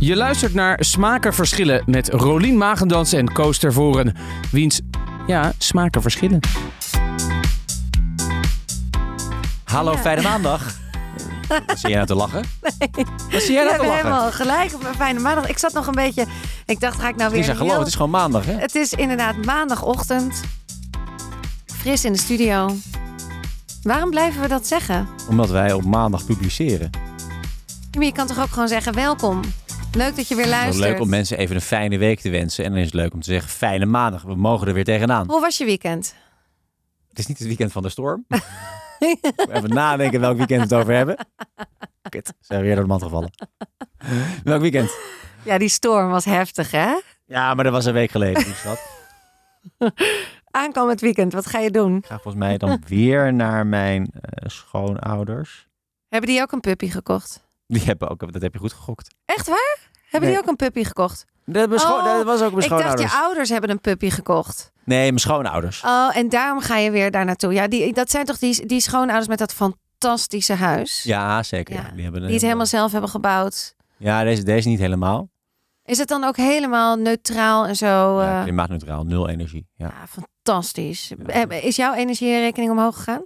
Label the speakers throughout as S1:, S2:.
S1: Je luistert naar Smaken Verschillen met Rolien Magendans en Koos Tervoren. Wiens, ja, smaken verschillen.
S2: Hallo,
S3: Ja.
S2: fijne maandag. Wat Zie jij nou te lachen? Nee. Wat zie jij
S3: We
S2: nou te
S3: hebben
S2: lachen?
S3: helemaal gelijk op een fijne maandag. Ik zat nog een beetje... Ik dacht, ga ik nou
S2: Niet
S3: weer...
S2: zijn
S3: een
S2: geloof,
S3: heel-
S2: het is gewoon maandag, hè?
S3: Het is inderdaad maandagochtend. Fris in de studio. Waarom blijven we dat zeggen?
S2: Omdat wij op maandag publiceren.
S3: Ja, maar Je kan toch ook gewoon zeggen welkom. Leuk dat je weer
S2: Het is
S3: luistert.
S2: wel leuk om mensen even een fijne week te wensen. En dan is het leuk om te zeggen, fijne maandag. We mogen er weer tegenaan.
S3: Hoe was je weekend?
S2: Het is niet het weekend van de storm. even nadenken welk weekend we het over hebben. Kut, zijn we weer door de mand gevallen. welk weekend?
S3: Ja, die storm was heftig, hè?
S2: Ja, maar dat was een week geleden. Dus dat.
S3: Aankomend weekend, wat ga je doen?
S2: Ik ga volgens mij dan weer naar mijn eh, schoonouders.
S3: Hebben die ook een puppy gekocht?
S2: Die hebben ook, dat heb je goed gegokt.
S3: Echt waar? Hebben
S2: Nee.
S3: die ook een puppy gekocht?
S2: Dat, was
S3: Oh,
S2: dat was ook mijn
S3: Ik dacht,
S2: schoonouders.
S3: je ouders hebben een puppy gekocht.
S2: Nee, mijn schoonouders.
S3: Oh, en daarom ga je weer daar naartoe. Ja, die, dat zijn toch die, die schoonouders met dat fantastische huis?
S2: Ja, zeker. ja.
S3: Ja,
S2: Die, hebben een-
S3: Die het helemaal zelf hebben gebouwd.
S2: Ja, deze, deze niet helemaal.
S3: Is het dan ook helemaal neutraal en zo?
S2: Ja,
S3: eh,
S2: klimaatneutraal, nul energie. Ja.
S3: ja, fantastisch. Eh, Is jouw energierekening omhoog gegaan?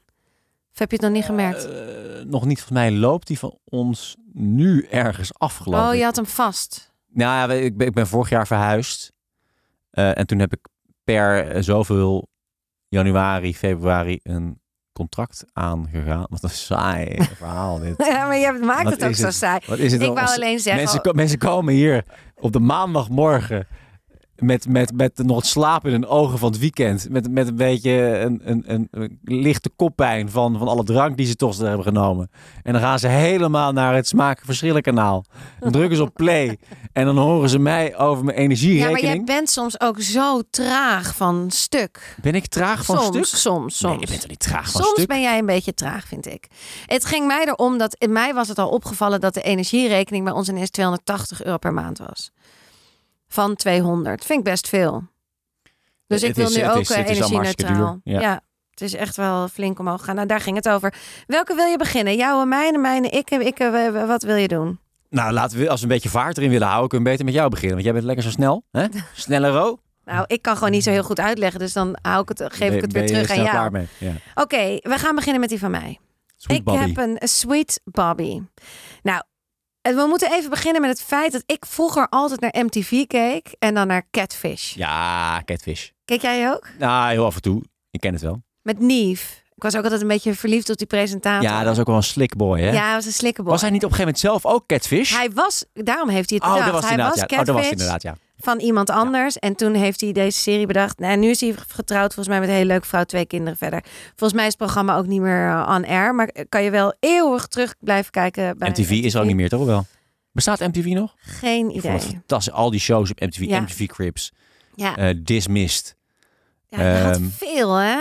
S3: Of heb je het nog niet gemerkt?
S2: Eh, nog niet, volgens mij loopt die van ons nu ergens af, geloof
S3: oh,
S2: ik.
S3: je had hem vast.
S2: Nou ja, we- ik ben, ik ben vorig jaar verhuisd. Eh, en toen heb ik per eh, zoveel januari, februari een contract aangegaan. Wat een saai verhaal dit.
S3: ja, maar je hebt- maakt
S2: Wat
S3: het ook
S2: is
S3: zo
S2: het?
S3: saai.
S2: Wat is het
S3: Ik
S2: een
S3: wou
S2: ons-
S3: alleen zeggen...
S2: mensen, ko- mensen komen hier op de maandagmorgen met, met, met nog het slaap in hun ogen van het weekend. Met, met een beetje een, een, een, een lichte koppijn van, van alle drank die ze toch hebben genomen. En dan gaan ze helemaal naar het smaakverschillenkanaal. Dan drukken ze op play en dan horen ze mij over mijn
S3: ja, maar
S2: energierekening.
S3: jij bent soms ook zo traag van stuk.
S2: Ben ik traag van
S3: soms,
S2: stuk?
S3: soms, soms.
S2: Nee, je bent toch niet traag van
S3: Soms
S2: stuk?
S3: ben jij een beetje traag, vind ik. Het ging mij erom dat... In mij was het al opgevallen dat de energierekening bij ons ineens 280 euro per maand was. Van 200. Vind ik best veel. Dus
S2: Het
S3: ik wil
S2: is-
S3: nu
S2: het
S3: ook
S2: is-
S3: eh,
S2: het is allemaal hartstikke
S3: energie-neutraal.
S2: duur, ja.
S3: Ja. het is echt wel flink omhoog gaan. Nou, daar ging het over. Welke wil je beginnen? Jouw, en mijne, mijne, ik, ik. eh, Wat wil je doen?
S2: Nou, laten we, als we een beetje vaart erin willen houden, kunnen we beter met jou beginnen. Want jij bent lekker zo snel. Hè? Snelle ro.
S3: Nou, ik kan gewoon niet zo heel goed uitleggen. Dus dan hou ik het, geef
S2: Ben-
S3: ik het
S2: ben
S3: weer
S2: je
S3: terug aan
S2: snel
S3: jou.
S2: klaar mee. Ja.
S3: Oké, we gaan beginnen met die van mij.
S2: Sweet
S3: ik
S2: Bobby.
S3: heb een eh, Sweet Bobby. Nou, eh, we moeten even beginnen met het feit dat ik vroeger altijd naar MTV keek en dan naar Catfish.
S2: Ja, catfish.
S3: Keek jij ook?
S2: Nou, heel af en toe. Ik ken het wel.
S3: Met Nief. Ik was ook altijd een beetje verliefd op die presentator.
S2: Ja, dat was ook wel een slick boy, hè?
S3: Ja, hij was een slikkenboy.
S2: Was hij niet op een gegeven moment zelf ook catfish?
S3: Hij was, daarom heeft hij het
S2: oh,
S3: bedacht.
S2: dat was
S3: hij was
S2: inderdaad, ja.
S3: Catfish
S2: Oh, dat was inderdaad, ja.
S3: van iemand anders. En toen heeft hij deze serie bedacht. Nou, nu is hij getrouwd volgens mij met een hele leuke vrouw, twee kinderen verder. Volgens mij is het programma ook niet meer eh, on air. Maar eh, kan je wel eeuwig terug blijven kijken. Bij
S2: MTV is er ook niet meer, toch wel? Bestaat MTV nog?
S3: Geen
S2: Ik vond het
S3: idee.
S2: fantastisch. Al die shows op MTV.
S3: Ja.
S2: MTV Crips.
S3: Ja,
S2: eh, Dismissed.
S3: ja hij had
S2: ehm,
S3: veel hè?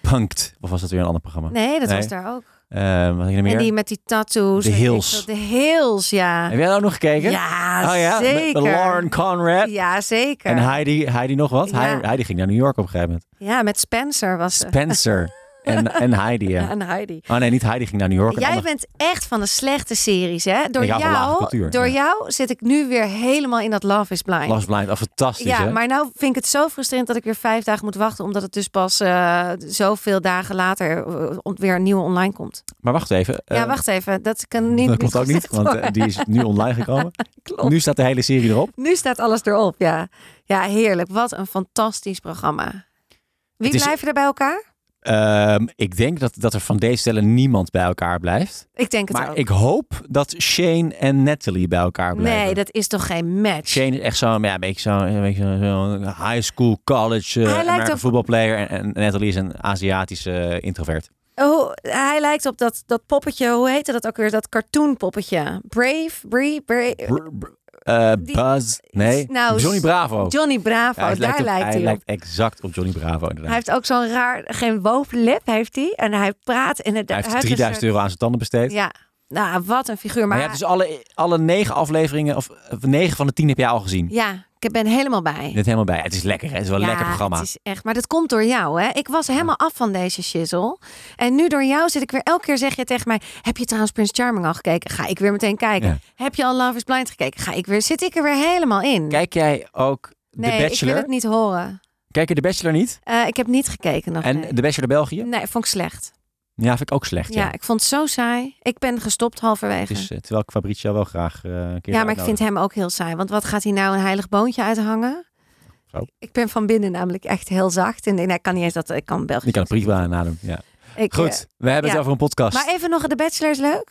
S2: Punked. Of was dat weer een ander programma?
S3: Nee, dat
S2: nee.
S3: was daar ook.
S2: Eh, wat had ik er
S3: En
S2: meer?
S3: die met die tattoos.
S2: De
S3: en weet ik
S2: Hills.
S3: veel. De Hills, ja.
S2: Heb jij dat ook nog gekeken?
S3: Ja,
S2: oh, ja? Met-
S3: zeker.
S2: Met Lauren Conrad.
S3: Ja, zeker.
S2: En Heidi, Heidi nog wat?
S3: Ja.
S2: Heidi, Heidi ging naar New York op een gegeven moment.
S3: Ja, met Spencer was ze.
S2: Spencer. en, en Heidi, ja.
S3: Ja, en Heidi.
S2: Oh nee, niet Heidi ging naar New York. een
S3: Jij
S2: ander-
S3: bent echt van de slechte series, hè? Door,
S2: Ik hou van lage
S3: jou,
S2: cultuur,
S3: door
S2: ja.
S3: jou zit ik nu weer helemaal in dat Love is Blind.
S2: Last Blind. Oh, fantastisch,
S3: ja,
S2: hè?
S3: maar nou vind ik het zo frustrerend dat ik weer vijf dagen moet wachten. Omdat het dus pas eh, zoveel dagen later eh, weer een nieuwe online komt.
S2: Maar wacht even.
S3: ja,
S2: eh,
S3: wacht even. Dat kan niet.
S2: dat klopt ook niet,
S3: gezegd
S2: want eh,
S3: worden.
S2: die is nu online gekomen.
S3: Klopt.
S2: Nu staat de hele serie erop.
S3: Nu staat alles erop, ja. Ja, heerlijk. Wat een fantastisch programma. Wie
S2: Het is-
S3: blijven er bij elkaar?
S2: Ehm, ik denk dat, dat er van deze stellen niemand bij elkaar blijft.
S3: Ik denk het
S2: maar
S3: ook.
S2: ik hoop dat Shane en Natalie bij elkaar blijven.
S3: nee, dat is toch geen match?
S2: Shane is echt zo'n ja, een beetje zo'n een beetje zo'n- zo'n high school, college eh
S3: Hij lijkt
S2: American
S3: op-
S2: voetbalplayer. En, en Natalie is een Aziatische eh, introvert.
S3: Oh, hij lijkt op dat, dat poppetje, hoe heette dat ook weer? Dat cartoon poppetje. Brave, Bree, Brave.
S2: Br- br- eh,
S3: Die-
S2: Buzz, nee,
S3: Nou,
S2: Johnny Bravo.
S3: Johnny Bravo,
S2: oh. Ja, hij
S3: daar
S2: lijkt, op-
S3: lijkt
S2: hij
S3: hij op.
S2: lijkt exact op Johnny Bravo inderdaad.
S3: Hij heeft ook zo'n raar, geen bovenlip heeft hij. En hij praat en het
S2: Hij heeft
S3: het is
S2: 3000 euro aan zijn tanden besteed.
S3: een- Ja, nou, wat een figuur.
S2: Maar
S3: Maar,
S2: je hebt dus alle, alle negen afleveringen, of of negen van de tien heb jij al gezien.
S3: ja, ik ben helemaal bij.
S2: Net helemaal bij. Het is lekker, hè? Het is wel een lekker programma.
S3: Het is echt, maar dat komt door jou, hè? Ik was helemaal af van deze shizzle. En nu door jou zit ik weer elke keer zeg je tegen mij: Heb je trouwens Prince Charming al gekeken? Ga ik weer meteen kijken. Heb je al Love is Blind gekeken? Ga ik weer, zit ik er weer helemaal in?
S2: Kijk jij ook
S3: nee,
S2: The
S3: ik wil
S2: Bachelor?
S3: het niet horen.
S2: Kijk je The Bachelor niet?
S3: Eh, ik heb niet gekeken nog.
S2: En
S3: nee.
S2: The Bachelor België?
S3: nee, vond ik slecht.
S2: Ja, vind ik ook slecht. Ja.
S3: Ja, ik vond het zo saai. Ik ben gestopt halverwege.
S2: Dus, eh, terwijl ik Fabrizio wel graag eh, een keer
S3: ja, maar ik vind hem ook heel saai. Want wat gaat hij nou een heilig boontje uithangen?
S2: Zo.
S3: Ik ben van binnen namelijk echt heel zacht. En nee, ik kan niet eens dat. Ik kan Belgisch.
S2: Ik kan het prima nadoen, ja.
S3: Ik, eh,
S2: Goed, we hebben
S3: ja.
S2: het over een podcast.
S3: maar even nog, de Bachelor is leuk.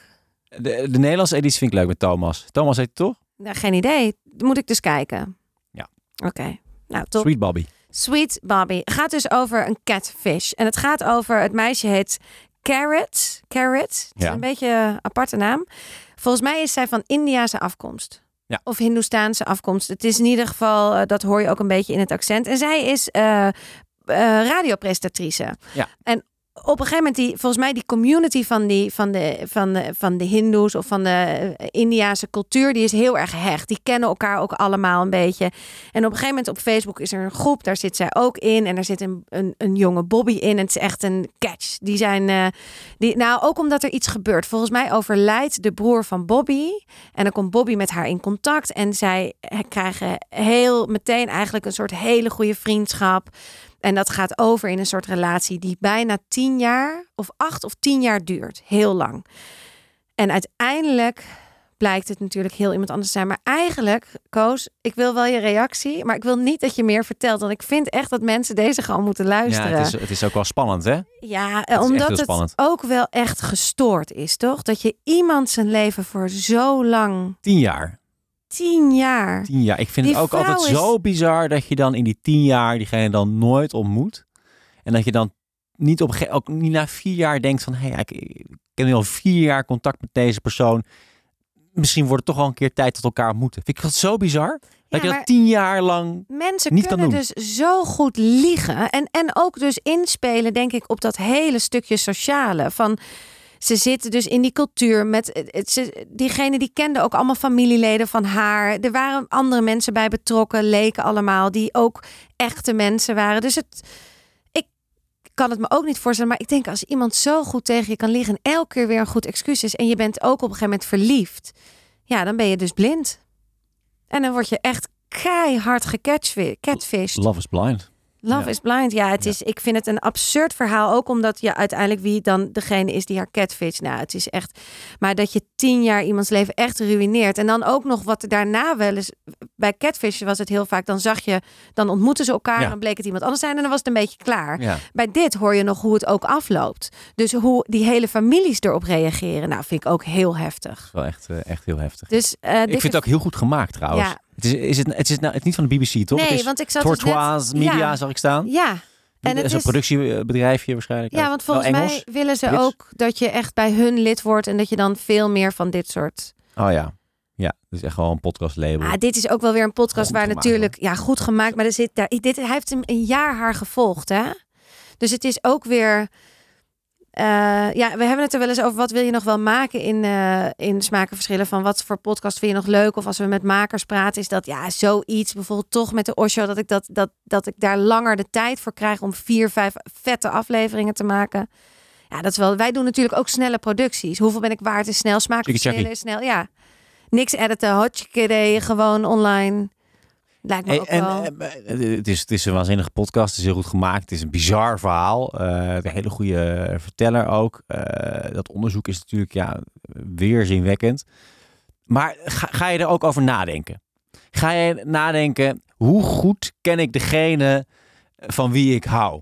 S2: De, de Nederlandse editie vind ik leuk met Thomas. Thomas heet het toch?
S3: Nou, geen idee. Moet ik dus kijken.
S2: Ja.
S3: Oké. Nou, top. Sweet.
S2: Sweet Bobby.
S3: Bobby. Gaat dus over een catfish. En het gaat over, het meisje heet Carrot. Carrot. Het is
S2: Ja.
S3: een beetje een aparte naam. Volgens mij is zij van Indiase afkomst.
S2: Ja.
S3: Of Hindoestaanse afkomst. Het is in ieder geval, eh, dat hoor je ook een beetje in het accent. En zij is eh, eh, radiopresentatrice.
S2: Ja.
S3: En op een gegeven moment, die, volgens mij, die community van, die, van, de, van, de, van de Hindoes of van de eh, Indiase cultuur, die is heel erg hecht. Die kennen elkaar ook allemaal een beetje. En op een gegeven moment op Facebook is er een groep, daar zit zij ook in. En daar zit een, een, een jonge Bobby in. En het is echt een catch. Die zijn, eh, die, nou, ook omdat er iets gebeurt. Volgens mij overlijdt de broer van Bobby. En dan komt Bobby met haar in contact. En zij eh, krijgen heel meteen eigenlijk een soort hele goede vriendschap. En dat gaat over in een soort relatie die bijna tien jaar of acht of tien jaar duurt. Heel lang. En uiteindelijk blijkt het natuurlijk heel iemand anders te zijn. Maar eigenlijk, Koos, ik wil wel je reactie. Maar ik wil niet dat je meer vertelt. Want ik vind echt dat mensen deze gewoon moeten luisteren.
S2: Ja, het is, het is ook wel spannend, hè?
S3: Ja, eh,
S2: is echt
S3: omdat
S2: heel
S3: het
S2: spannend.
S3: ook wel echt gestoord is, toch? Dat je iemand zijn leven voor zo lang,
S2: Tien jaar.
S3: tien jaar.
S2: Tien jaar. Ik vind
S3: Die
S2: het ook
S3: vrouw
S2: altijd
S3: is-
S2: zo bizar dat je dan in die tien jaar diegene dan nooit ontmoet. En dat je dan niet op een gege- ook niet na vier jaar denkt van, hé, hey, ik, ik heb nu al vier jaar contact met deze persoon. Misschien wordt het toch wel een keer tijd tot elkaar ontmoeten. Vind ik dat zo bizar? dat je
S3: maar-
S2: dat tien jaar lang...
S3: Mensen
S2: Niet kan
S3: kunnen
S2: doen.
S3: dus zo goed liegen. En, en ook dus inspelen, denk ik, op dat hele stukje sociale. Van ze zitten dus in die cultuur met het- het- ze, diegene die kende ook allemaal familieleden van haar. Er waren andere mensen bij betrokken, leken allemaal, die ook echte mensen waren. Dus het, ik kan het me ook niet voorstellen. Maar ik denk als iemand zo goed tegen je kan liggen en elke keer weer een goed excuus is. En je bent ook op een gegeven moment verliefd. Ja, dan ben je dus blind. En dan word je echt keihard gecatfished.
S2: Love is blind.
S3: Love
S2: Ja.
S3: is blind. Ja, het
S2: Ja.
S3: Is, ik vind het een absurd verhaal. Ook omdat je uiteindelijk wie dan degene is die haar catfish. Nou, het is echt. Maar dat je tien jaar iemands leven echt ruïneert. En dan ook nog wat er daarna wel eens. Bij catfish was het heel vaak. Dan zag je. Dan ontmoeten ze elkaar.
S2: Ja.
S3: En dan bleek het iemand anders zijn. En dan was het een beetje klaar.
S2: Ja.
S3: Bij dit hoor je nog hoe het ook afloopt. Dus hoe die hele families erop reageren. Nou, vind ik ook heel heftig.
S2: Wel echt, eh, echt heel heftig.
S3: Dus eh,
S2: ik
S3: dikke-
S2: vind het ook heel goed gemaakt trouwens.
S3: Ja.
S2: Het, is, is het, het, is, nou, het is niet van de BBC, toch?
S3: Nee,
S2: het is
S3: want ik zat dus net-
S2: Tortoise Media,
S3: Ja.
S2: zag ik staan.
S3: Ja. En
S2: dat
S3: het
S2: is een
S3: is-
S2: productiebedrijfje waarschijnlijk.
S3: Ja,
S2: ook.
S3: want
S2: eh, Wel
S3: volgens mij
S2: Engels.
S3: willen ze
S2: Brits.
S3: ook dat je echt bij hun lid wordt en dat je dan veel meer van dit soort.
S2: Oh ja. Ja, dat is echt wel een podcastlabel.
S3: Ah, dit is ook wel weer een podcast
S2: Goed
S3: waar
S2: gemaakt,
S3: natuurlijk, ja, goed gemaakt, maar er zit daar, dit, hij heeft hem een jaar haar gevolgd, hè? Dus het is ook weer. eh, ja, we hebben het er wel eens over. Wat wil je nog wel maken in, eh in smakenverschillen? Van wat voor podcast vind je nog leuk? Of als we met makers praten, is dat ja, zoiets. Bijvoorbeeld toch met de Osho. Dat ik, dat, dat, dat ik daar langer de tijd voor krijg om vier, vijf vette afleveringen te maken. Ja, dat is wel. Wij doen natuurlijk ook snelle producties. Hoeveel ben ik waard is snel, smaakverschillen
S2: Chickie-chackie.
S3: is snel. Ja, niks editen, hotchikidee, gewoon online. Lijkt me
S2: Hey,
S3: ook
S2: en,
S3: wel.
S2: eh, het, is, het is een waanzinnige podcast. Het is heel goed gemaakt. Het is een bizar verhaal. Eh, een hele goede verteller ook. Eh, dat onderzoek is natuurlijk ja, weerzinwekkend. Maar ga, ga je er ook over nadenken? Ga je nadenken, hoe goed ken ik degene van wie ik hou?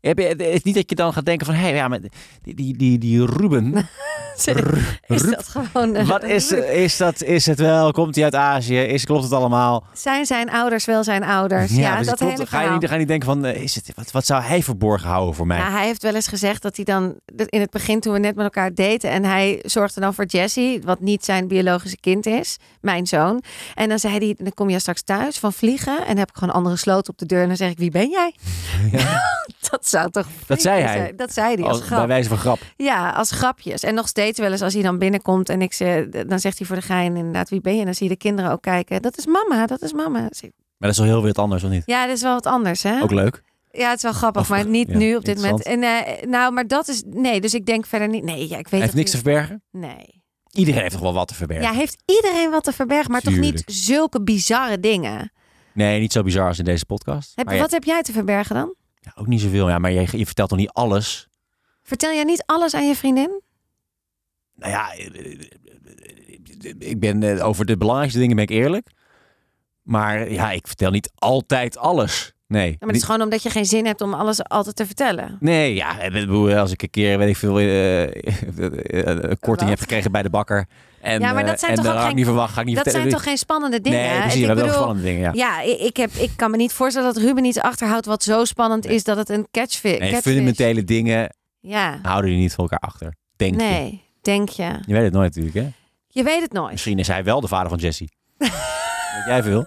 S2: Heb je, het is niet dat je dan gaat denken van, hé, hey, ja, maar die, die, die, die Ruben,
S3: is
S2: eh, Ruud,
S3: dat gewoon. eh,
S2: wat is,
S3: Ruud?
S2: is, dat, is het wel? Komt hij uit Azië? Is, klopt het allemaal?
S3: Zijn zijn ouders wel zijn ouders? Ja,
S2: dus
S3: dat
S2: het klopt.
S3: hele
S2: ga, je
S3: verhaal.
S2: niet, ga je niet denken van, eh, is het, wat, wat zou hij verborgen houden voor mij?
S3: Nou, hij heeft wel eens gezegd dat hij dan dat in het begin toen we net met elkaar daten en hij zorgde dan voor Jesse, wat niet zijn biologische kind is, mijn zoon. En dan zei hij, dan kom je straks thuis van vliegen en heb ik gewoon andere sloten op de deur en dan zeg ik, wie ben jij? Dat zou toch...
S2: Dat zei
S3: freaky
S2: hij.
S3: zijn? Dat zei hij als,
S2: Als-
S3: eh, grap.
S2: bij wijze van grap.
S3: Ja, als grapjes. En nog steeds wel eens als hij dan binnenkomt en ik ze, dan zegt hij voor de gein inderdaad wie ben je? En dan zie je de kinderen ook kijken. Dat is mama, dat is mama.
S2: Maar dat is wel heel weer wat anders, of niet?
S3: Ja, dat is wel wat anders hè?
S2: Ook leuk.
S3: Ja, het is wel grappig,
S2: Of-
S3: maar niet
S2: ja,
S3: nu op dit moment. En, eh, nou, maar dat is... Nee, dus ik denk verder niet... Nee, ja, ik weet
S2: Hij heeft
S3: het
S2: niks te
S3: niet.
S2: verbergen.
S3: Nee.
S2: Iedereen heeft toch wel wat te verbergen?
S3: Ja, heeft iedereen wat te verbergen, maar toch
S2: Tuurlijk.
S3: niet zulke bizarre dingen.
S2: Nee, niet zo bizar als in deze podcast.
S3: Heb,
S2: Maar ja,
S3: Wat heb jij te verbergen dan?
S2: ja, ook niet zoveel. Ja, maar je, je vertelt toch niet alles?
S3: Vertel jij niet alles aan je vriendin?
S2: Nou ja, eh, eh, eh, ik ben eh, over de belangrijkste dingen ben ik eerlijk. Maar ja, ik vertel niet altijd alles. Nee.
S3: Ja, maar het is gewoon omdat je geen zin hebt om alles altijd te vertellen.
S2: Nee, ja, ik bedoel, als ik een keer, weet ik veel, eh, een korting heb gekregen bij de bakker. En,
S3: Ja, maar dat
S2: eh,
S3: zijn
S2: en
S3: toch
S2: dan
S3: ook
S2: had ik
S3: geen-
S2: niet verwacht, ga ik niet
S3: Dat zijn
S2: vertellen.
S3: toch geen spannende dingen?
S2: Nee, precies,
S3: ik
S2: dat wel
S3: bedoel,
S2: spannende dingen, ja.
S3: Ja, ik, ik heb, ik kan me niet voorstellen dat Ruben iets achterhoudt wat zo spannend is dat het een catchfi-
S2: Nee,
S3: catfish
S2: fundamentele dingen
S3: Ja,
S2: houden die niet van elkaar achter, denk je.
S3: nee, denk je.
S2: Je weet het nooit natuurlijk, hè?
S3: Je weet het nooit.
S2: Misschien is hij wel de vader van Jesse. Weet jij veel?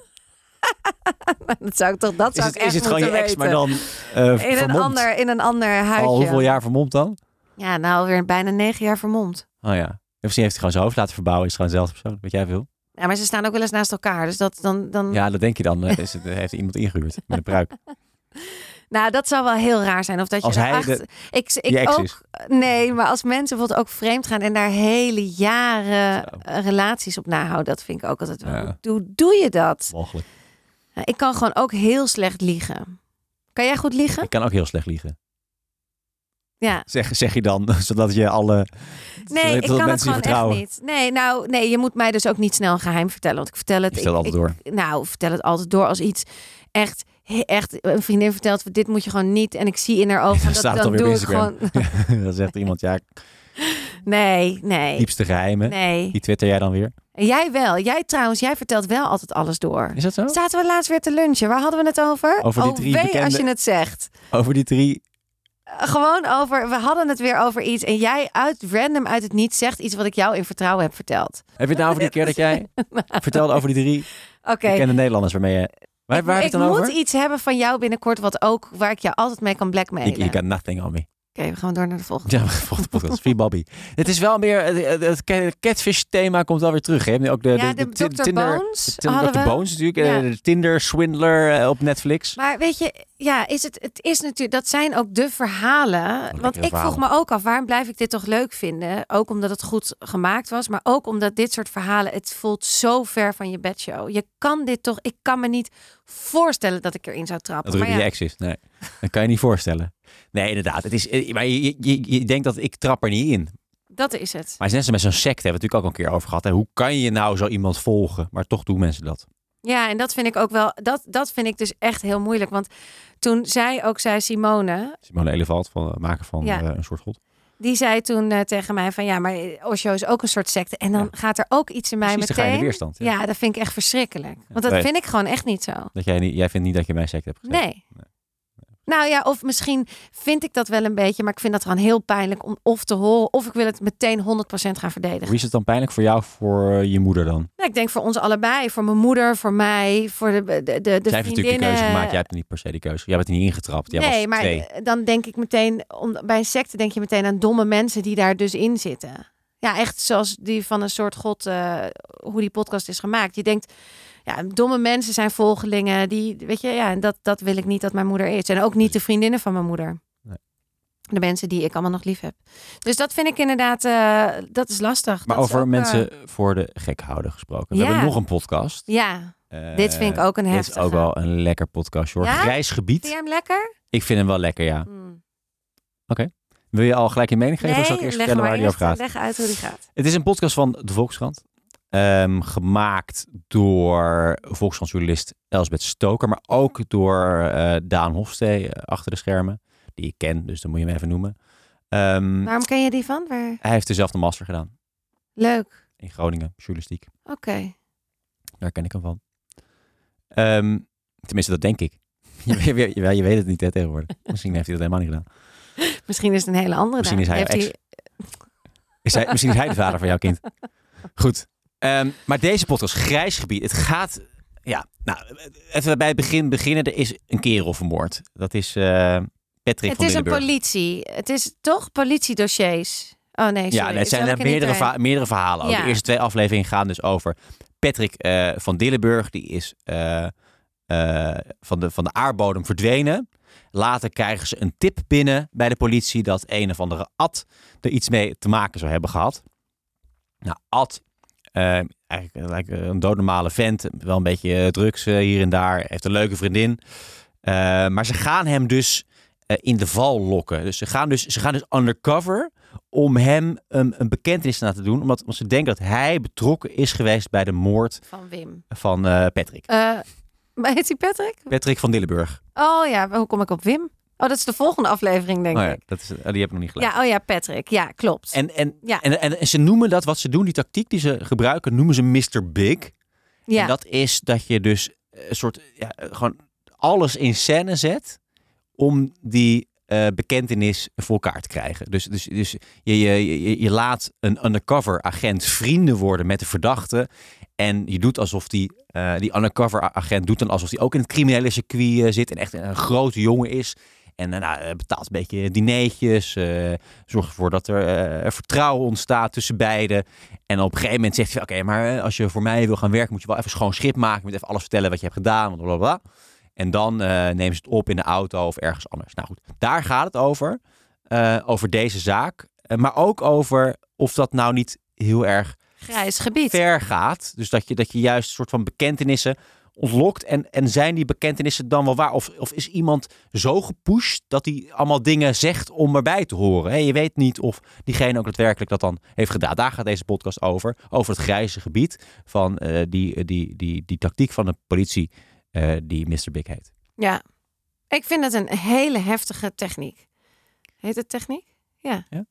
S3: Dat zou ik toch, dat
S2: Is
S3: zou
S2: het,
S3: ik echt
S2: is het gewoon je
S3: moeten
S2: ex, maar
S3: weten.
S2: dan eh
S3: in een,
S2: vermomd?
S3: ander, in een ander huisje.
S2: Al hoeveel jaar vermomd dan?
S3: Ja, nou weer bijna negen jaar vermomd.
S2: Oh ja. Of ze heeft hij gewoon zijn hoofd laten verbouwen, is gewoon dezelfde persoon. Weet jij veel?
S3: Ja, maar ze staan ook wel eens naast elkaar. Dus dat dan. dan...
S2: Ja, dat denk je dan. eh, Is het, heeft iemand ingehuurd met een pruik.
S3: Nou, dat zou wel heel raar zijn. Of dat je
S2: Als hij
S3: erachter-
S2: de-
S3: ik,
S2: je
S3: ik
S2: ex
S3: ook.
S2: is.
S3: Nee, maar als mensen bijvoorbeeld ook vreemd gaan en daar hele jaren eh, relaties op nahouden, dat vind ik ook altijd wel.
S2: Ja.
S3: Hoe doe- doe je dat?
S2: Mogelijk.
S3: Nou, Ik kan gewoon ook heel slecht liegen. Kan jij goed liegen?
S2: Ik kan ook heel slecht liegen.
S3: Ja.
S2: Zeg, zeg je dan, zodat je alle...
S3: Nee, ik
S2: zodat
S3: kan het
S2: mensen je
S3: gewoon echt
S2: vertrouwen.
S3: niet. Nee, nou, nee, je moet mij dus ook niet snel een geheim vertellen. Want ik vertel het.
S2: Je vertelt
S3: ik-
S2: altijd
S3: ik- nou, vertel het altijd door als iets echt. he- Echt, een vriendin vertelt, dit moet je gewoon niet. En ik zie in haar ogen,
S2: Dan
S3: dat,
S2: staat het
S3: dan
S2: alweer
S3: doe
S2: op
S3: ik gewoon...
S2: Instagram. dan zegt iemand, ja,
S3: Nee, nee,
S2: diepste geheimen.
S3: nee.
S2: Die twitter jij dan weer.
S3: En jij wel. Jij trouwens, jij vertelt wel altijd alles door.
S2: Is dat zo?
S3: Zaten we laatst weer te lunchen. Waar hadden we het over?
S2: Over die
S3: Oh,
S2: drie
S3: wee
S2: bekende-
S3: als je het zegt.
S2: Over die drie...
S3: Eh, Gewoon over, we hadden het weer over iets. En jij uit random uit het niet zegt iets wat ik jou in vertrouwen heb verteld.
S2: Heb je het nou over die keer dat jij vertelde over die drie
S3: Oké.
S2: bekende Nederlanders waarmee je... Waar, waar heb
S3: ik
S2: je het dan
S3: moet
S2: over?
S3: iets hebben van jou binnenkort wat ook, waar ik jou altijd mee kan blackmailen.
S2: You, you got nothing on me.
S3: Oké, we gaan door naar de volgende.
S2: Ja, maar volgende podcast. Free Bobby. Het is wel meer... Het, het- het catfish thema komt wel weer terug. Hè? Je hebt nu Ook Eh, de,
S3: Ja,
S2: de,
S3: de
S2: de
S3: Dr.
S2: Tinder...
S3: Bones
S2: de Tin-
S3: hadden
S2: Dr.
S3: we.
S2: Bones natuurlijk.
S3: Ja.
S2: eh, de Tinder Swindler eh, op Netflix.
S3: Maar weet je, ja, is het, het is natuurlijk, dat zijn ook de verhalen.
S2: lekkere
S3: want ik vroeg
S2: verhalen.
S3: me ook af, waarom blijf ik dit toch leuk vinden? Ook omdat het goed gemaakt was, maar ook omdat dit soort verhalen, het voelt zo ver van je bedshow. Je kan dit toch, ik kan me niet voorstellen dat ik erin zou trappen.
S2: Dat Ruben
S3: maar
S2: je
S3: ja,
S2: ex is. Nee, dat kan je niet voorstellen. Nee, inderdaad. Het is, eh, maar je, je- je, je denkt dat ik trap er niet in.
S3: dat is het.
S2: Maar het is net zo met zo'n sect hebben we het natuurlijk ook al een keer over gehad. Hè? Hoe kan je nou zo iemand volgen? Maar toch doen mensen dat.
S3: Ja, en dat vind ik ook wel, dat, dat vind ik dus echt heel moeilijk. Want toen zij ook zei, Simone,
S2: Simone Elevalt, van, eh, maker van
S3: Ja.
S2: eh, een soort god.
S3: Die zei toen eh, tegen mij van ja, maar Osho is ook een soort secte. En dan gaat er ook iets in mij
S2: Precies, dan ga je
S3: meteen.
S2: in de weerstand, ja.
S3: Ja. dat vind ik echt verschrikkelijk. Want dat
S2: Nee.
S3: vind ik gewoon echt niet zo.
S2: Dat jij, niet, jij vindt niet dat je mijn sect hebt gezet.
S3: Nee. Nou ja, of misschien vind ik dat wel een beetje, maar ik vind dat gewoon heel pijnlijk om of te horen, of ik wil het meteen 100% gaan verdedigen.
S2: Hoe is het dan pijnlijk voor jou, voor eh, je moeder dan?
S3: Nou, ik denk voor ons allebei, voor mijn moeder, voor mij, voor de, de, de, de
S2: Zij heeft natuurlijk de
S3: vriendinnen.
S2: keuze gemaakt. Jij hebt niet per se die keuze. Jij bent er niet ingetrapt. Jij
S3: nee,
S2: was
S3: maar
S2: twee.
S3: eh, dan denk ik meteen, om, bij een secte denk je meteen aan domme mensen die daar dus in zitten. Ja, echt zoals die van een soort god, eh, hoe die podcast is gemaakt. Je denkt, ja, domme mensen zijn volgelingen, die, weet je, ja, en dat, dat wil ik niet dat mijn moeder is. En ook niet de vriendinnen van mijn moeder.
S2: Nee.
S3: De mensen die ik allemaal nog lief heb. Dus dat vind ik inderdaad, eh, dat is lastig.
S2: Maar
S3: Dat is
S2: over
S3: ook, eh,
S2: mensen voor de gek houden gesproken. We
S3: Ja.
S2: hebben nog een podcast.
S3: ja,
S2: Eh,
S3: dit vind ik ook een
S2: Dit is
S3: heftige.
S2: ook wel een lekker podcast, hoor.
S3: Ja?
S2: Grijs gebied.
S3: Vind jij hem lekker?
S2: Ik vind hem wel lekker, ja.
S3: Hmm.
S2: Wil je al gelijk je mening geven? of zal ik eerst
S3: leg,
S2: vertellen
S3: maar
S2: waar die
S3: eerst,
S2: over gaat?
S3: leg uit hoe die gaat.
S2: Het is een podcast van de Volkskrant. Ehm, gemaakt door Volkskrantjournalist Elsbeth Stoker. Maar ook door eh, Daan Hofstee eh, achter de schermen. Die ik ken, dus dan moet je hem even noemen. Ehm,
S3: Waarom ken je die van? Waar?
S2: Hij heeft dezelfde master gedaan
S3: Leuk.
S2: in Groningen, journalistiek.
S3: Oké.
S2: Daar ken ik hem van. Ehm, tenminste, dat denk ik. Je, weet- je, je weet het niet hè, tegenwoordig. Misschien heeft hij dat helemaal niet gedaan.
S3: Misschien is het een hele andere
S2: Misschien is
S3: Daan.
S2: hij
S3: Heeft
S2: jouw Is hij, misschien is hij de vader van jouw kind. Goed. Ehm, maar deze podcast, Grijs Gebied, het gaat... Ja, nou, even bij het begin beginnen. Er is een kerel vermoord. Dat is eh, Patrick
S3: Het
S2: van
S3: is een
S2: Dillenburg.
S3: politie. Het is toch politiedossiers. Oh nee, sorry.
S2: Ja, het zijn
S3: Zal
S2: er
S3: ik er niet
S2: meerdere,
S3: bij?
S2: verha- meerdere verhalen. over.
S3: Ja.
S2: De eerste twee afleveringen gaan dus over Patrick eh, van Dillenburg. Die is eh, eh, van, de, van de aardbodem verdwenen. Later krijgen ze een tip binnen bij de politie dat een of andere Ad er iets mee te maken zou hebben gehad. Nou, Ad, eh, eigenlijk lijkt een doodnormale vent, wel een beetje eh, drugs eh, hier en daar, heeft een leuke vriendin. Eh, maar ze gaan hem dus eh, in de val lokken. Dus ze gaan dus, ze gaan dus undercover om hem een, een bekentenis te laten doen, omdat, omdat ze denken dat hij betrokken is geweest bij de moord
S3: Van Wim.
S2: van eh, Patrick.
S3: Eh, maar heet hij Patrick?
S2: Patrick van Dillenburg.
S3: Oh ja, maar hoe kom ik op Wim? Oh, dat is de volgende aflevering, denk
S2: Oh ja,
S3: ik.
S2: dat is, eh, die heb ik nog niet gelezen.
S3: Ja, oh ja, Patrick. Ja, klopt.
S2: En, en,
S3: Ja.
S2: en, en, en ze noemen dat wat ze doen, die tactiek die ze gebruiken, noemen ze Mr. Big.
S3: ja.
S2: En dat is dat je dus eh, een soort ja, eh, gewoon alles in scène zet om die eh, bekentenis voor elkaar te krijgen. Dus, dus, dus je, je, je, je laat een undercover agent vrienden worden met de verdachte. En je doet alsof die, eh, die undercover a- agent doet dan alsof hij ook in het criminele circuit eh, zit en echt een grote jongen is. En eh, nou, eh, betaalt een beetje dineetjes. eh, zorgt ervoor dat er eh, vertrouwen ontstaat tussen beiden. En op een gegeven moment zegt hij: Oké, maar eh, als je voor mij wil gaan werken, moet je wel even schoon schip maken. Je moet even alles vertellen wat je hebt gedaan. Bla bla bla. En dan eh, nemen ze het op in de auto of ergens anders. Nou goed, daar gaat het over. eh, over deze zaak. Eh, maar ook over of dat nou niet heel erg
S3: Grijs gebied.
S2: ver gaat. Dus dat je, dat je juist een soort van bekentenissen ontlokt. En, en zijn die bekentenissen dan wel waar? Of, of is iemand zo gepusht dat hij allemaal dingen zegt om erbij te horen? Hè, je weet niet of diegene ook daadwerkelijk dat dan heeft gedaan. Daar gaat deze podcast over. Over het grijze gebied van eh, die, die, die, die, tactiek van de politie eh, die Mr. Big heet.
S3: Ja. Ik vind het een hele heftige techniek. Heet het techniek? Ja.
S2: Ja.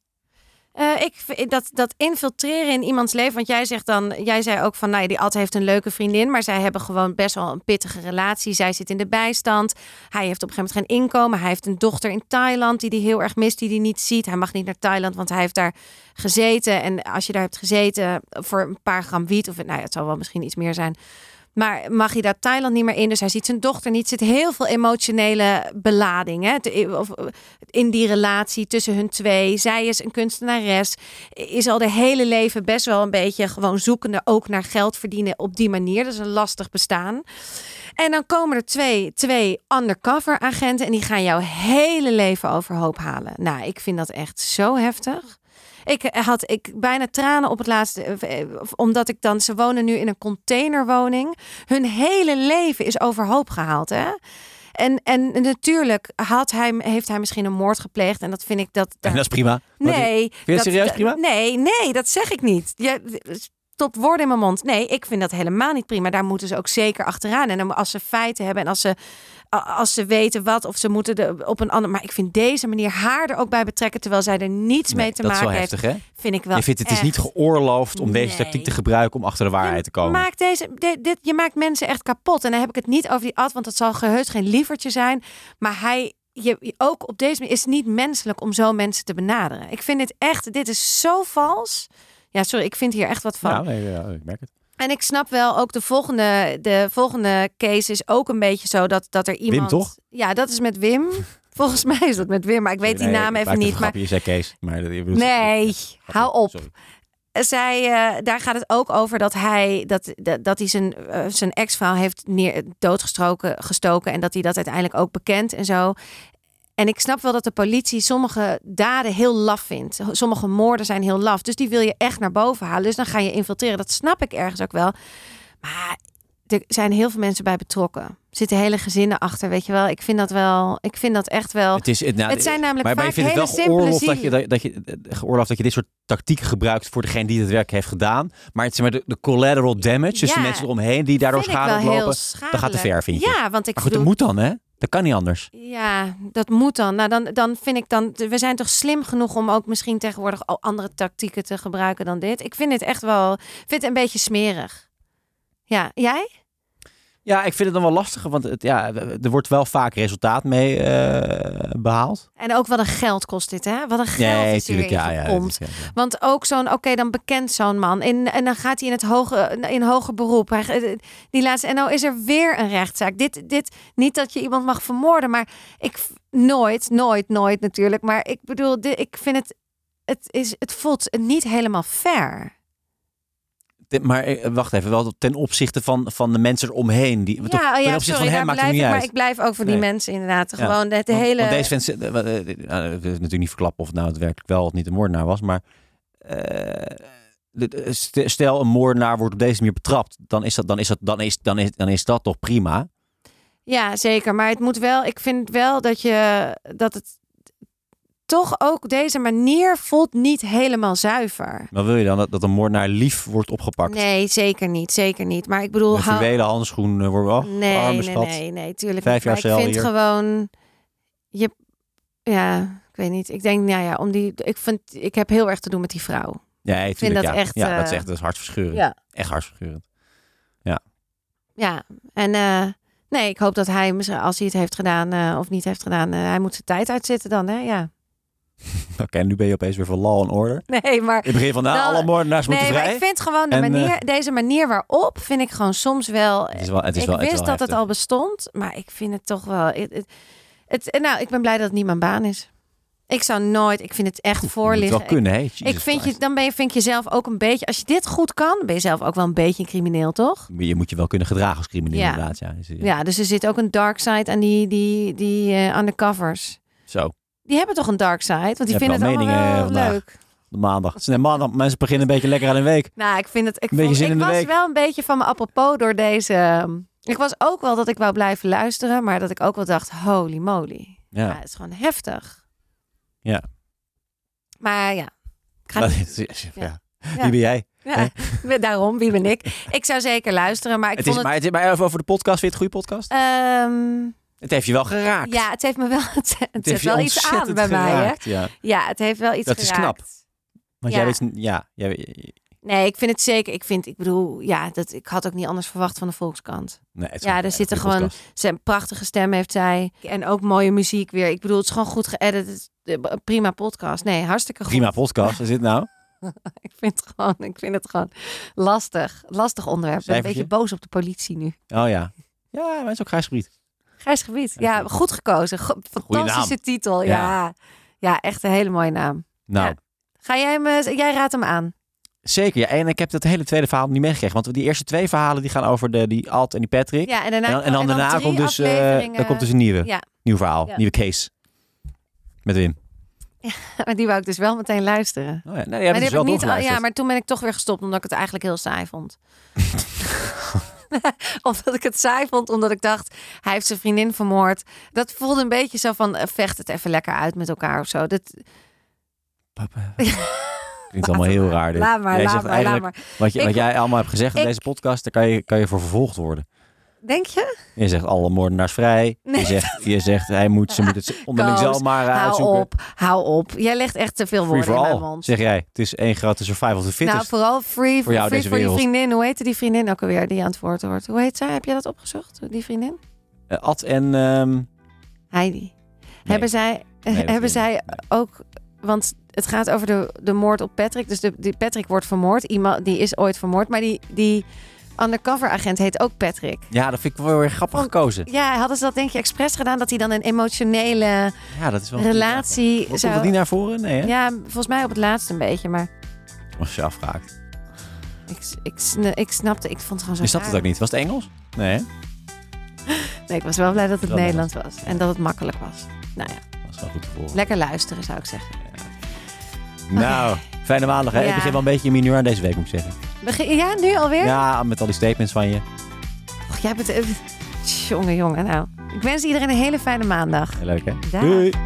S3: Eh, ik, vind dat, dat infiltreren in iemands leven. Want jij zegt dan, jij zei ook van, nou ja, die Ad heeft een leuke vriendin, maar zij hebben gewoon best wel een pittige relatie. Zij zit in de bijstand. Hij heeft op een gegeven moment geen inkomen. Hij heeft een dochter in Thailand die hij heel erg mist, die hij niet ziet. Hij mag niet naar Thailand, want hij heeft daar gezeten. En als je daar hebt gezeten voor een paar gram wiet, of nou ja, het zal wel misschien iets meer zijn, maar mag hij daar Thailand niet meer in? Dus hij ziet zijn dochter niet. Er zit heel veel emotionele belading hè? te- of, eh, in die relatie tussen hun twee. Zij is een kunstenares. Is al de hele leven best wel een beetje gewoon zoekende. Ook naar geld verdienen op die manier. Dat is een lastig bestaan. En dan komen er twee, twee undercover agenten. En die gaan jouw hele leven overhoop halen. Nou, ik vind dat echt zo heftig. Ik eh, had ik bijna tranen op het laatste. eh, eh, Omdat ik dan. Ze wonen nu in een containerwoning. Hun hele leven is overhoop gehaald. Hè? En, en natuurlijk had hij, heeft hij misschien een moord gepleegd. En dat vind ik dat.
S2: En dat is prima. Maar die-
S3: Nee.
S2: je het serieus prima?
S3: Nee, nee, dat zeg ik niet. Je, stop woorden in mijn mond. Nee, ik vind dat helemaal niet prima. Daar moeten ze ook zeker achteraan. En dan als ze feiten hebben en als ze, a- als ze weten wat... of ze moeten er op een ander... Maar ik vind deze manier haar er ook bij betrekken... terwijl zij er niets
S2: Nee,
S3: mee te
S2: dat is
S3: maken
S2: wel
S3: heeft.
S2: heftig, hè?
S3: Vind ik wel
S2: je vindt het is
S3: echt-
S2: niet geoorloofd om deze
S3: Nee.
S2: tactiek te gebruiken om achter de waarheid te komen.
S3: Je maakt, deze, dit, dit- je maakt mensen echt kapot. En dan heb ik het niet over die ad, want dat zal geheus geen lievertje zijn. Maar hij, je, je- ook op deze manier, is het niet menselijk om zo mensen te benaderen. Ik vind dit echt, dit is zo vals. Ja, sorry, ik vind hier echt wat van.
S2: Nou, nee, ja, ik merk het.
S3: En ik snap wel ook de volgende, de volgende case is ook een beetje zo dat, dat er iemand.
S2: toch?
S3: Ja, dat is met Wim. Volgens mij is dat met Wim, maar ik weet die
S2: Nee,
S3: naam
S2: ik
S3: even
S2: maakte
S3: niet.
S2: een
S3: Maar
S2: grapje, je zei Kees. Maar, dat- je bedoelt-
S3: nee, hou op
S2: Sorry.
S3: zij, eh, daar gaat het ook over dat hij, dat, dat, dat hij zijn, eh, zijn ex-vrouw heeft neer, doodgestoken gestoken en dat hij dat uiteindelijk ook bekent en zo. En ik snap wel dat de politie sommige daden heel laf vindt. Sommige moorden zijn heel laf. Dus die wil je echt naar boven halen. Dus dan ga je infiltreren. Dat snap ik ergens ook wel. Maar er zijn heel veel mensen bij betrokken. Er zitten hele gezinnen achter, weet je wel. Ik vind dat wel. Ik vind dat echt wel.
S2: Het, is, het, nou,
S3: Het zijn namelijk
S2: maar, maar je
S3: vaak
S2: vindt het
S3: hele
S2: wel
S3: simpele
S2: geoorloofd dat je,
S3: zielen.
S2: dat, dat je, eh, geoorloofd dat je dit soort tactieken gebruikt voor degene die het werk heeft gedaan. Maar het is maar de, de collateral damage, dus
S3: Ja.
S2: de mensen eromheen die daardoor
S3: Vind ik
S2: schade
S3: wel heel
S2: oplopen. Dan gaat de
S3: schadelijk.
S2: ver, vind je.
S3: Ja, want ik
S2: Maar goed, dat
S3: bedoel-
S2: moet dan, hè? Dat kan niet anders.
S3: Ja, dat moet dan. Nou, dan, dan vind ik dan. We zijn toch slim genoeg om ook misschien tegenwoordig al andere tactieken te gebruiken dan dit. Ik vind het echt wel. Ik vind het een beetje smerig. Ja, jij?
S2: Ja, ik vind het dan wel lastig, want het, ja, er wordt wel vaak resultaat mee eh, behaald.
S3: En ook wat een geld kost dit, hè? Wat een geld
S2: nee,
S3: is
S2: tuurlijk,
S3: hierin
S2: ja, ja, dat
S3: gepompt.
S2: is- ja, ja.
S3: Want ook zo'n, oké, dan bekent zo'n man. In, en dan gaat hij in het hoge, in hoger beroep. Hij- Die laatste, en nou is er weer een rechtszaak. Dit, dit, niet dat je iemand mag vermoorden, maar ik v- nooit, nooit, nooit natuurlijk. Maar ik bedoel, dit, ik vind het, het, is, het voelt niet helemaal fair.
S2: Ten- Maar eh, wacht even, wel ten opzichte van, van de mensen eromheen. Die, toch,
S3: ja, oh
S2: ten
S3: ja,
S2: opzichte
S3: sorry,
S2: van
S3: daar
S2: hem maakt het
S3: blijf
S2: niet
S3: ik.
S2: uit.
S3: Maar ik blijf ook voor die
S2: Nee.
S3: mensen inderdaad.
S2: Ja,
S3: Gewoon het
S2: Want-
S3: hele...
S2: Want deze mensen, eh, wat, eh, eh, nou, het is natuurlijk niet verklappen of het nou daadwerkelijk wel of niet een moordenaar was, maar eh, de- de- st- stel een moordenaar wordt op deze manier betrapt, dan is dat, dan is dat, dan is, dan is, dan is dat toch prima.
S3: Ja, zeker. Maar het moet wel, ik vind wel dat je dat het toch ook deze manier voelt niet helemaal zuiver.
S2: Maar wil je dan dat, dat een moordenaar lief wordt opgepakt?
S3: Nee, zeker niet. Zeker niet. Maar ik bedoel,
S2: Een
S3: hou-
S2: fluwelen handschoen eh, wordt oh,
S3: nee,
S2: arme
S3: nee,
S2: schat.
S3: nee, nee, tuurlijk. niet.
S2: Vijf jaar
S3: Maar
S2: cel
S3: ik vind
S2: hier.
S3: gewoon, je, ja, ik weet niet. Ik denk, nou ja, om die, ik vind, ik heb heel erg te doen met die vrouw.
S2: Ja, ik vind dat ja. echt. Ja, dat is
S3: eh,
S2: echt dat is hartverscheurend.
S3: ja.
S2: Echt hartverscheurend.
S3: Ja, en eh, nee, ik hoop dat hij, misschien, als hij het heeft gedaan eh, of niet heeft gedaan, eh, hij moet zijn tijd uitzitten dan, hè? Ja.
S2: Oké, nu ben je opeens weer voor law and order.
S3: Nee, maar
S2: In het begin van, nou,
S3: Nou,
S2: alle moordenaars moeten
S3: Nee, maar
S2: vrij.
S3: ik vind gewoon de
S2: En, eh,
S3: manier, deze manier waarop vind ik gewoon soms wel.
S2: Het is wel, het is
S3: ik
S2: wel,
S3: wist
S2: het is wel
S3: dat het
S2: heftig.
S3: al bestond, maar ik vind het toch wel. Het, het, het- nou, ik ben blij dat het niet mijn baan is. Ik zou nooit. Ik vind het echt
S2: Je moet
S3: voorliggen.
S2: wel kunnen, hè?
S3: Ik, ik vind je, dan ben je, vind ik jezelf ook een beetje. Als je dit goed kan, ben je zelf ook wel een beetje een crimineel, toch?
S2: Je moet je wel kunnen gedragen als crimineel,
S3: Ja.
S2: inderdaad. Ja. Dus, eh,
S3: Ja, dus er zit ook een dark side aan die, die, die eh undercovers.
S2: Zo,
S3: Die hebben toch een dark side? Want die
S2: Je hebt
S3: vinden het
S2: wel
S3: allemaal
S2: meningen,
S3: wel
S2: eh, vandaag.
S3: leuk.
S2: de maandag. Het is net maandag. Mensen beginnen een beetje lekker aan een week.
S3: Nou, ik vind het. Ik,
S2: Een beetje
S3: vond-
S2: zin
S3: ik
S2: in de
S3: was
S2: week.
S3: wel een beetje van mijn apropos door deze. ehm, Ik was ook wel dat ik wou blijven luisteren, maar dat ik ook wel dacht: holy moly. Ja,
S2: Ja.
S3: het is gewoon heftig.
S2: Ja.
S3: Maar ja. Ik ga
S2: Dat
S3: niet-
S2: is- ja.
S3: Ja.
S2: Wie ben jij?
S3: ja, daarom, wie ben ik? Ik zou zeker luisteren, maar ik
S2: Eh. Het is,
S3: vond het.
S2: maar, het is, maar even over de podcast. Vind je het een goede podcast?
S3: ehm,
S2: Het heeft je wel geraakt.
S3: ja, het heeft me wel. Het, het zet wel iets aan bij mij. Hè?
S2: mij. Ja.
S3: Ja, het heeft wel iets
S2: Dat is knap.
S3: geraakt.
S2: Want
S3: Ja.
S2: jij weet, ja, jij, weet-
S3: Nee, ik vind het zeker. Ik vind, ik bedoel, ja, dat ik had ook niet anders verwacht van de Volkskrant.
S2: nee, het is
S3: Ja,
S2: een-
S3: er
S2: een
S3: zitten
S2: goede
S3: gewoon-
S2: podcast.
S3: Zijn prachtige stem heeft zij. En ook mooie muziek weer. Ik bedoel, het is gewoon goed geëdit. Het is, eh, Prima podcast. Nee, hartstikke goed.
S2: Prima podcast. Is dit nou?
S3: Ik vind het gewoon, ik vind het gewoon lastig. Lastig onderwerp. Ik ben een
S2: Cijfertje?
S3: beetje boos op de politie nu.
S2: Oh ja. Ja, maar het is ook grijs gebied.
S3: Grijs gebied. Ja,
S2: Oké.
S3: goed gekozen. Go- fantastische
S2: naam.
S3: titel. Ja. ja. echt een hele mooie naam.
S2: Nou,
S3: Ja. Ga jij me, jij raadt hem aan.
S2: Zeker, ja. En ik heb dat hele tweede verhaal niet meegekregen. Want die eerste twee verhalen die gaan over de, die Alt en die Patrick.
S3: Ja, Nou, en daarna,
S2: en, dan, en dan daarna
S3: drie
S2: komt, dus, eh,
S3: afleveringen.
S2: dan komt dus een nieuwe.
S3: Ja.
S2: Nieuw verhaal,
S3: Ja.
S2: nieuwe case. Met Wim.
S3: Maar die wou ik dus wel meteen luisteren.
S2: Oh ja, nou, die hebben dus
S3: maar
S2: wel
S3: die heb ik niet al-
S2: doorgeluisterd.
S3: ja, maar toen ben ik toch weer gestopt omdat ik het eigenlijk heel saai vond. omdat ik het saai vond, omdat ik dacht, hij heeft zijn vriendin vermoord. Dat voelde een beetje zo van, eh, vecht het even lekker uit met elkaar of zo. Dat,
S2: Papa. Klinkt allemaal heel raar dit.
S3: laat maar,
S2: jij
S3: laat
S2: zegt
S3: maar, laat
S2: eigenlijk
S3: maar.
S2: Wat, je,
S3: Ik-
S2: wat jij allemaal hebt gezegd in
S3: ik-
S2: deze podcast, daar kan je, kan je voor vervolgd worden.
S3: Denk je?
S2: Je zegt alle moordenaars vrij.
S3: Nee.
S2: Je, zegt, je zegt hij moet, ze moeten het onderling
S3: Koos,
S2: zelf maar eh,
S3: hou
S2: uitzoeken.
S3: op, hou op. Jij legt echt te veel
S2: Free
S3: woorden
S2: for
S3: in mijn
S2: all,
S3: mond.
S2: zeg jij. Het is één grote survival of the fittest.
S3: nou, vooral free
S2: Voor
S3: voor,
S2: jou
S3: free
S2: deze
S3: voor die
S2: wereld.
S3: vriendin. Hoe heette die vriendin ook alweer die aan het woord hoort? Hoe heet zij? Heb jij dat opgezocht? Die vriendin?
S2: Eh, Ad en... ehm,
S3: Heidi. Hebben zij,
S2: dat
S3: hebben
S2: weet ik
S3: zij ook. Want het gaat over de, de moord op Patrick. Dus de, die Patrick wordt vermoord. Iemand die is ooit vermoord. Maar die, die undercover agent heet ook Patrick.
S2: ja, dat vind ik wel heel erg grappig gekozen.
S3: Ja, hadden ze dat denk je expres gedaan? Dat hij dan een emotionele
S2: Ja, dat is wel...
S3: relatie
S2: Komt dat
S3: zou...
S2: niet naar voren? Nee, hè?
S3: Ja, volgens mij op het laatste een beetje. Maar
S2: Als je afraakt.
S3: ik, ik, sn- ik snapte, ik vond het gewoon zo
S2: Je snapt het
S3: raar.
S2: ook niet. Was het Engels? Nee, hè?
S3: Nee, ik was wel blij dat het
S2: Wel
S3: Nederlands was. En dat het makkelijk was. Nou ja,
S2: Dat is wel goed te volgen.
S3: lekker luisteren zou ik zeggen.
S2: Nou, fijne maandag. Hè?
S3: Ja.
S2: Ik begin wel een beetje in mijn humeur aan deze week, moet ik zeggen.
S3: Begin, ja, nu alweer?
S2: Ja, met al die statements van je.
S3: Och, jij bent... Jongen, jongen, nou. Ik wens iedereen een hele fijne maandag.
S2: Heel leuk, hè?
S3: Dag.
S2: Doei.